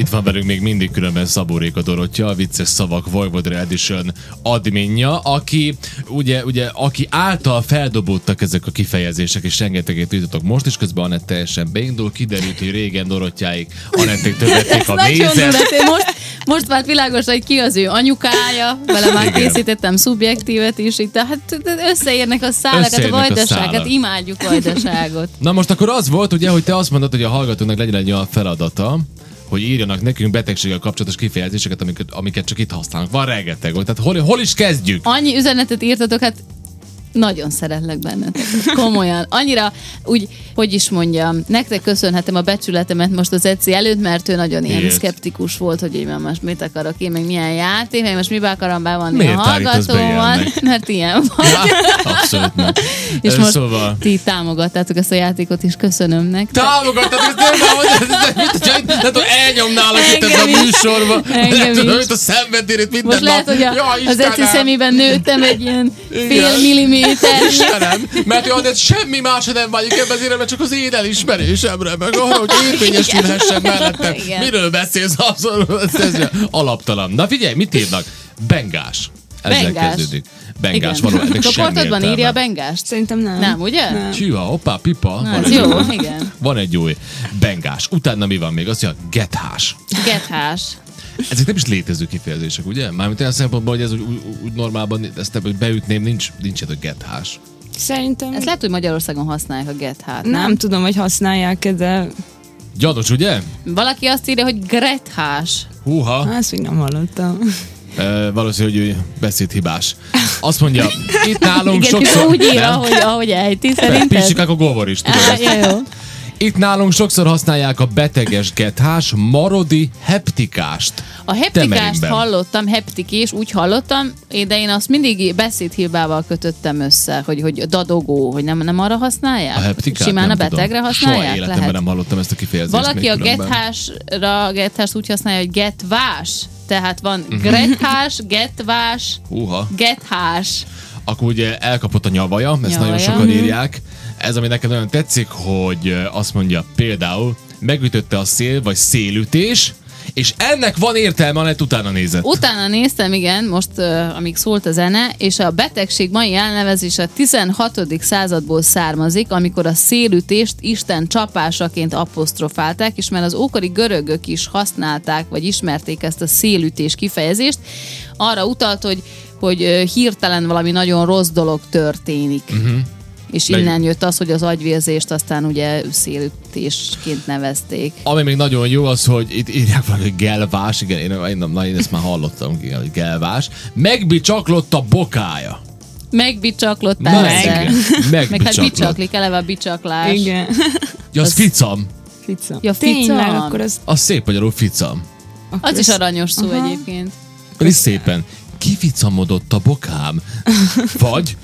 Itt van velünk még mindig különben Szabó Réka Dorottya, a Vicces Szavak Voivodra Edition adminja, aki, ugye, ugye, aki által feldobódtak ezek a kifejezések, és rengeteget jutotok most is, közben Anett teljesen beindul, kiderült, hogy régen Dorottyáig Anették tövették Ez a nagyon mézet. durva. Én most, most már világos, hogy ki az ő anyukája, vele már Igen. készítettem szubjektívet is, itt, hát összeérnek a szálakat, a Összeérnek a vajdaságot, szálak. imádjuk vajdaságot. Na most akkor az volt, ugye, hogy te azt mondod, hogy a hallgatónak legyen egy olyan feladata, hogy írjanak nekünk betegséggel kapcsolatos kifejezéseket, amiket, amiket csak itt használnak. Van rengeteg, tehát hol, hol is kezdjük? Annyi üzenetet írtatok, hát nagyon szeretlek bennetek. Komolyan. Annyira, úgy, hogy is mondjam, nektek köszönhetem a becsületemet most az Eci előtt, mert ő nagyon ilyen Miért? szkeptikus volt, hogy én már most mit akarok én, meg milyen játék, meg most mibe akarom bevonni Miért a állítasz be hallgatóval, ilyennek? mert ilyen van. Abszolút nem. És most Szóval... ti támogattátok ezt a játékot is, köszönöm nektek. Támogatod, ez nem ahogy ez nem mit, nem tudom, elnyomnálak itt ebben Engem a is. műsorban. Engem Nem tudom, is. itt a szenvedélyét minden Most nap. lehet, hogy a, ja, az Eci szemében nőttem egy ilyen fél Igen. milliméter. Istenem, mert jó, de semmi másra nem vágyik ebben az életben, csak az én elismerésemre, meg arra, hogy érvényesülhessen mellettem. Igen. Miről beszélsz abszolút? Ez alaptalan. Na figyelj, mit írnak? Bengás. Ezzel Bengás. kezdődik. Bengás, valóban. ennek semmi Csoportodban értelme. írja a bengást? Szerintem nem. Nem, ugye? Nem. Csüha, hoppá, pipa. Na, van ez egy jó, új. igen. Van egy új bengás. Utána mi van még? Azt mondja, gethás. Gethás. Ezek nem is létező kifejezések, ugye? Mármint olyan szempontból, hogy ez úgy, úgy, úgy normálban, ezt nem, hogy beütném, nincs, nincs ez a gethás. Szerintem Ezt lehet, hogy Magyarországon használják a gethát, nem? nem tudom, hogy használják-e, de Gyanos, ugye? Valaki azt írja, hogy grethás. Húha, azt még nem hallottam. e, valószínű, hogy ő beszédhibás. Azt mondja, itt nálunk Igen, sokszor... sokszor, úgy ír, Nem? ahogy, ahogy ejti, szerinted? Pisikák a govor is, tudod. Á, ezt. ja, jó. Itt nálunk sokszor használják a beteges gethás, marodi heptikást. A heptikást Temerimben. hallottam, heptikés, úgy hallottam, én- de én azt mindig beszédhibával kötöttem össze, hogy, hogy dadogó, hogy nem, nem arra használják? A heptikát Simán nem a betegre tudom. Soha használják? életemben Lehet. nem hallottam ezt a kifejezést. Valaki még a különben. gethásra, gethást úgy használja, hogy getvás. Tehát van Mhm. grethás, getvás, Húha. gethás. Akkor ugye elkapott a nyavaja, ezt Nyavaja. nagyon sokan írják. Ez, ami nekem nagyon tetszik, hogy ö, azt mondja például, megütötte a szél, vagy szélütés, és ennek van értelme, anett utána nézett. Utána néztem, igen, most uh, amíg szólt a zene, és a betegség mai elnevezése a 16. századból származik, amikor a szélütést Isten csapásaként apostrofálták, és mert az ókori görögök is használták, vagy ismerték ezt a szélütés kifejezést, arra utalt, hogy, hogy ö, hirtelen valami nagyon rossz dolog történik. Uh-huh. És Meg- innen jött az, hogy az agyvérzést aztán ugye szélütésként nevezték. Ami még nagyon jó az, hogy itt írják valami, hogy gelvás, igen, én, én, nem, na, én ezt már hallottam, igen, hogy gelvás. Megbicsaklott a bokája. Megbicsaklott Na, persze. igen, Meg hát Megbicsaklott. bicsaklik, eleve a bicsaklás. Igen. Ja, az ficam. Ficam. Ja, ficam. Tényleg, akkor az... Az szép magyarul ficam. Akkor Az is aranyos szó egyébként. Akkor is szépen kificamodott a bokám. Vagy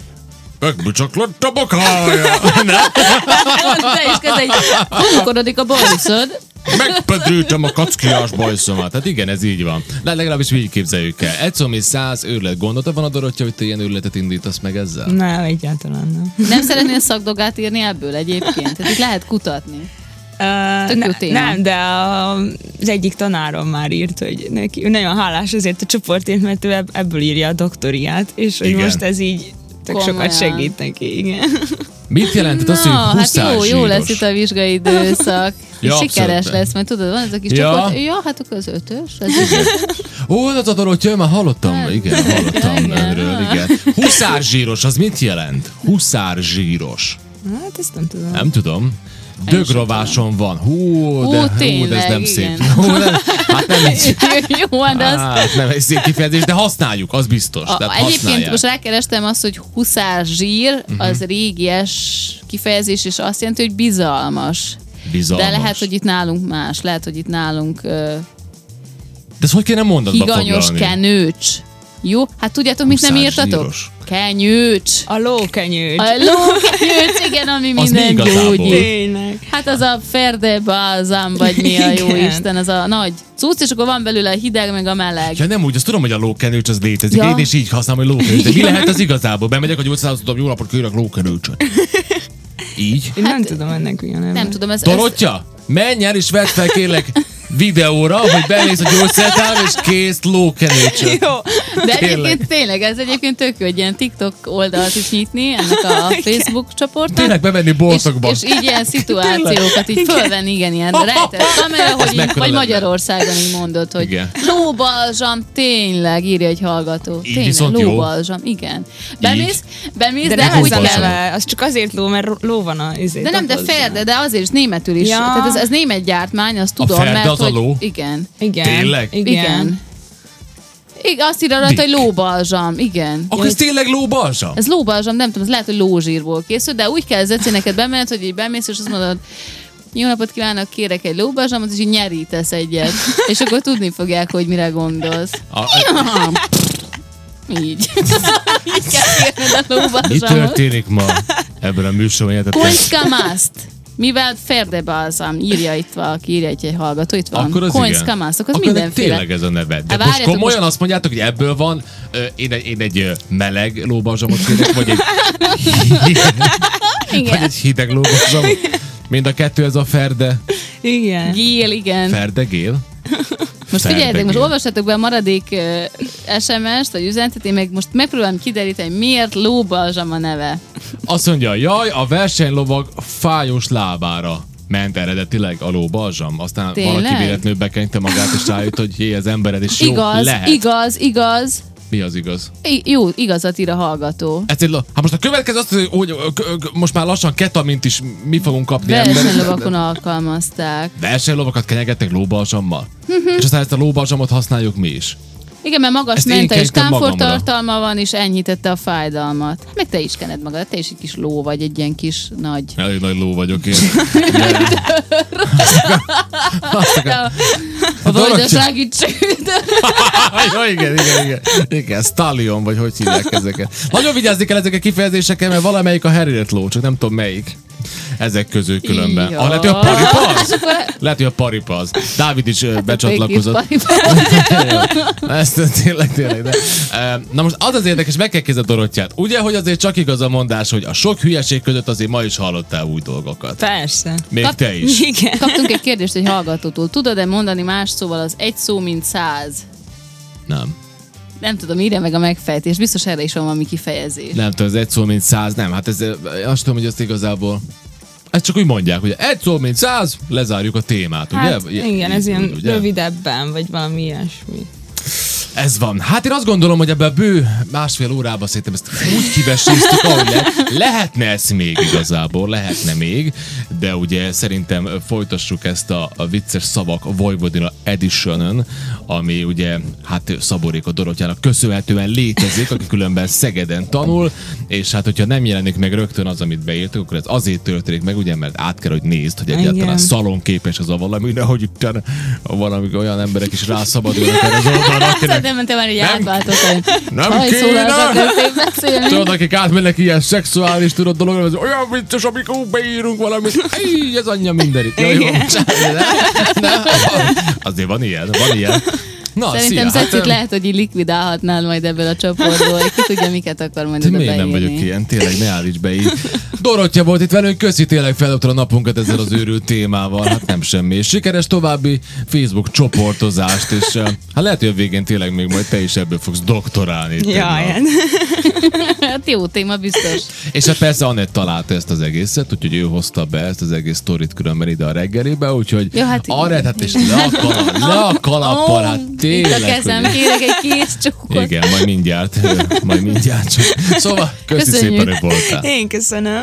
megbicsaklott a bokája. Nem? Te is kezd egy homokorodik a borúszod. Megpedültem a kackiás bajszomat. Hát igen, ez így van. Le, legalábbis mi így képzeljük el. Egy szomi száz őrület gondolta van a Dorottya, hogy te ilyen őrületet indítasz meg ezzel? Nem, egyáltalán nem. Nem szeretnél szakdogát írni ebből egyébként? Tehát itt lehet kutatni. Uh, Tök jó ne, téma. nem, de a, az egyik tanárom már írt, hogy neki ő nagyon hálás azért a csoportért, mert ő ebb- ebből írja a doktoriát, és hogy Igen. most ez így tök Komolyan. sokat segít neki, igen. Mit jelentett az, hogy Na, hát huszár jó, jó lesz zsíros? itt a vizsgai időszak. Ja, Ja, Sikeres abszolút. lesz, mert tudod, van ez a kis Ja. csoport. Ja, hát akkor az ötös. Az igen. Ó, az a Dorottya, már hallottam. Igen, hallottam Hát, igen. önről, igen. Huszár zsíros, az mit jelent? Huszár zsíros. Hát ezt nem tudom. Nem tudom. Dögrováson van. Hú, de, hú, de ez tényleg, nem igen. szép. Hú, de, hát nem így. Jó, de az Hát nem egy szép kifejezés, de használjuk, az biztos. A, tehát egyébként használják. most rákerestem azt, hogy huszár zsír, uh-huh. Mhm. az régies kifejezés, és azt jelenti, hogy bizalmas. Bizalmas. De lehet, hogy itt nálunk más, lehet, hogy itt nálunk uh, De ezt hogy kéne mondatba higanyos foglalni? kenőcs. Jó? Hát tudjátok, mit nem Huszár írtatok? zsíros. Kenyőcs. A lókenyőcs. A lókenyőcs, igen, ami Az mi minden igazából? gyógyít. Tényleg. Hát az a ferdebázám, vagy mi a jó Igen. Isten, az a nagy cucc, és akkor van belőle a hideg, meg a meleg. Ja nem úgy, azt tudom, hogy a lókenőcs az létezik. Ja. Én is így használom, hogy lókenőcs. De mi lehet az igazából? Bemegyek a gyógyszerhoz, tudom, jó napot kérek lókenőcsöt. Így? Én nem tudom ennek mi a neve. Hát- Nem tudom, ez... ez- Dorottya, menj el és vedd fel kérlek videóra, hogy bemész a gyógyszertár, és kész lókenécsön. Jó. De egyébként Tényleg. tényleg, ez egyébként tök jó, hogy ilyen TikTok oldalt is nyitni ennek a Facebook csoportnak. Tényleg bemenni És, boltokba. és így ilyen szituációkat így fölvenni, igen, ilyen rejtett kamera, hogy így, mekkora vagy lenne? Magyarországon így mondod, hogy Igen. lóbalzsam, tényleg, írja egy hallgató. Így tényleg, viszont jó. lóbalzsam, igen. Bemész, bemész, De de, úgy nem hozzá kell. lóbalzsam. leve, az csak azért ló, mert ro- ló van a izé, De nem, de dobozban. ferde, de azért is németül is. Ja. Tehát ez, ez német gyártmány, azt tudom, ferde mert az a hogy, ló? Igen. Igen. Tényleg? Igen. Igen. Igen, azt írja rajta, hogy Dick. lóbalzsam, igen. Akkor ez tényleg lóbalzsa? Ez lóbalzsam, nem tudom, ez lehet, hogy lózsírból készül, de úgy kell Zeci neked bemenned, hogy így bemész, és azt mondod, jó napot kívánok, kérek egy lóbalzsamot, és így nyerítesz egyet. És akkor tudni fogják, hogy mire gondolsz. A, a, Így. így kell kérned mi a lóbalzsamot. történik ma ebben a műsorban? Ilyetetlen? Konyka maszt. Mivel ferdebalzam, írja itt valaki, írja egy hallgató, itt van. Akkor az igen. Konyka maszt, akkor, akkor ennek mindenféle. tényleg ez a neve. De Hát most várjátok, komolyan azt mondjátok, hogy ebből van, ö, én egy, én egy ö, meleg lóbalzsamot kérek, vagy egy, vagy Igen. egy hideg lóbalzsamot. Mind a kettő ez a ferde, Igen. Gél, igen. ferdegél. Most figyeljetek, most Ferdegél. olvassátok be a maradék uh, SMS-t, vagy üzenetet, én meg most megpróbálom kideríteni, miért lóbalzsam a neve. Azt mondja, jaj, a versenylovag fájós lábára ment eredetileg a lóbalzsam. Aztán Tényleg? valaki véletlenül bekenyte magát, és rájött, hogy hé, ez embered is jó igaz, lehet. igaz, igaz, Mi az igaz? I- jó, igazat ír a hallgató. Ez egy, lo- hát most a következő azt, hogy, hogy ö, ö, ö, most már lassan ketamint is mi fogunk kapni Versenylovakon alkalmazták. Versenylovakat kenyegettek lóbalzsammal. és aztán ezt a lóbalzsamot használjuk mi is. Igen, mert magas Ezt én menta és kenytem kámfor magamra. tartalma van, és enyhítette a fájdalmat. Meg te is kened magad, te is egy kis ló vagy, egy ilyen kis nagy. Elég nagy ló vagyok én. A Hát dolog vajdasági csőd. ja, igen, igen, igen. Igen, stallion, vagy hogy hívják ezeket. Nagyon vigyázni kell ezek a kifejezésekkel, mert valamelyik a herért ló, csak nem tudom melyik. Ezek közül különben. Ja. Ah, lehet, hogy a paripaz? Lehet, hogy a paripaz. Dávid is hát becsatlakozott. Ezt tényleg, tényleg. De. Ö, Na most az az érdekes, meg kell kérdezni a Dorottyát. Ugye, hogy azért csak igaz a mondás, hogy a sok hülyeség között azért ma is hallottál új dolgokat. Persze. Még Kap- te is. Igen. Kaptunk egy kérdést egy hallgatótól. Tudod-e mondani más szóval az egy szó, mint száz? Nem. Nem tudom, írja meg a megfejtés. Biztos erre is van valami kifejezés. Nem tudom, ez egy szó, mint száz. Nem, hát ez, ö, azt tudom, hogy ezt igazából... Ezt csak úgy mondják, hogy egy szó, mint száz, lezárjuk a témát, Hát, ugye? igen, Így ez ilyen úgy, ugye? rövidebben, vagy valami ilyesmi. Ez van. Hát én azt gondolom, hogy ebbe a bő másfél órába szerintem ezt úgy kiveséztük, ahogy le. lehetne ez még igazából, lehetne még, de ugye szerintem folytassuk ezt a, a vicces szavak Vojvodina edition ami ugye hát Szaboréka Dorottyának köszönhetően létezik, aki különben Szegeden tanul, és hát hogyha nem jelenik meg rögtön az, amit beírtuk, akkor ez azért történik meg, ugye, mert át kell, hogy nézd, hogy egyáltalán Igen. szalonképes az a valami, de hogy itt valami olyan emberek is rászabadulnak erre az oldalra, akinek Nem, nem, te már így Nem. átváltottál. Nem Hajszólásokat kéne! kezdtél beszélni. Tudod, akik átmennek ilyen szexuális tudod dologra, az olyan vicces, amikor beírunk valamit. Így, ez anyja mindenit. Jaj, jó, bocsánat, ne, ne. Azért van ilyen, van ilyen. Na, Szerintem szia, hát, Szecit em, lehet, hogy így likvidálhatnál majd ebből a csoportból. Ki tudja, miket akar majd Ti oda hát miért nem beírni. vagyok ilyen? Tényleg, ne állíts be így. Dorottya volt itt velünk, köszi tényleg feldobtad a napunkat ezzel az őrült témával. Hát nem semmi. És Sikeres további Facebook csoportozást, és eh, hát lehet, hogy a végén tényleg még majd te is ebből fogsz doktorálni. Jaj, tényleg. hát. Hát jó téma, biztos. És hát persze Anett találta ezt az egészet, úgyhogy ő hozta be ezt az egész sztorit különben ide a reggelibe, úgyhogy Ja, hát igen. Anett, hát és le a kalap, le a kalappal, hát itt tényleg. a kezem, hogy- kérek egy kész csókot. Igen, majd mindjárt, majd mindjárt. Csak. Szóval, köszi Köszönjük. szépen, hogy voltál. Én köszönöm.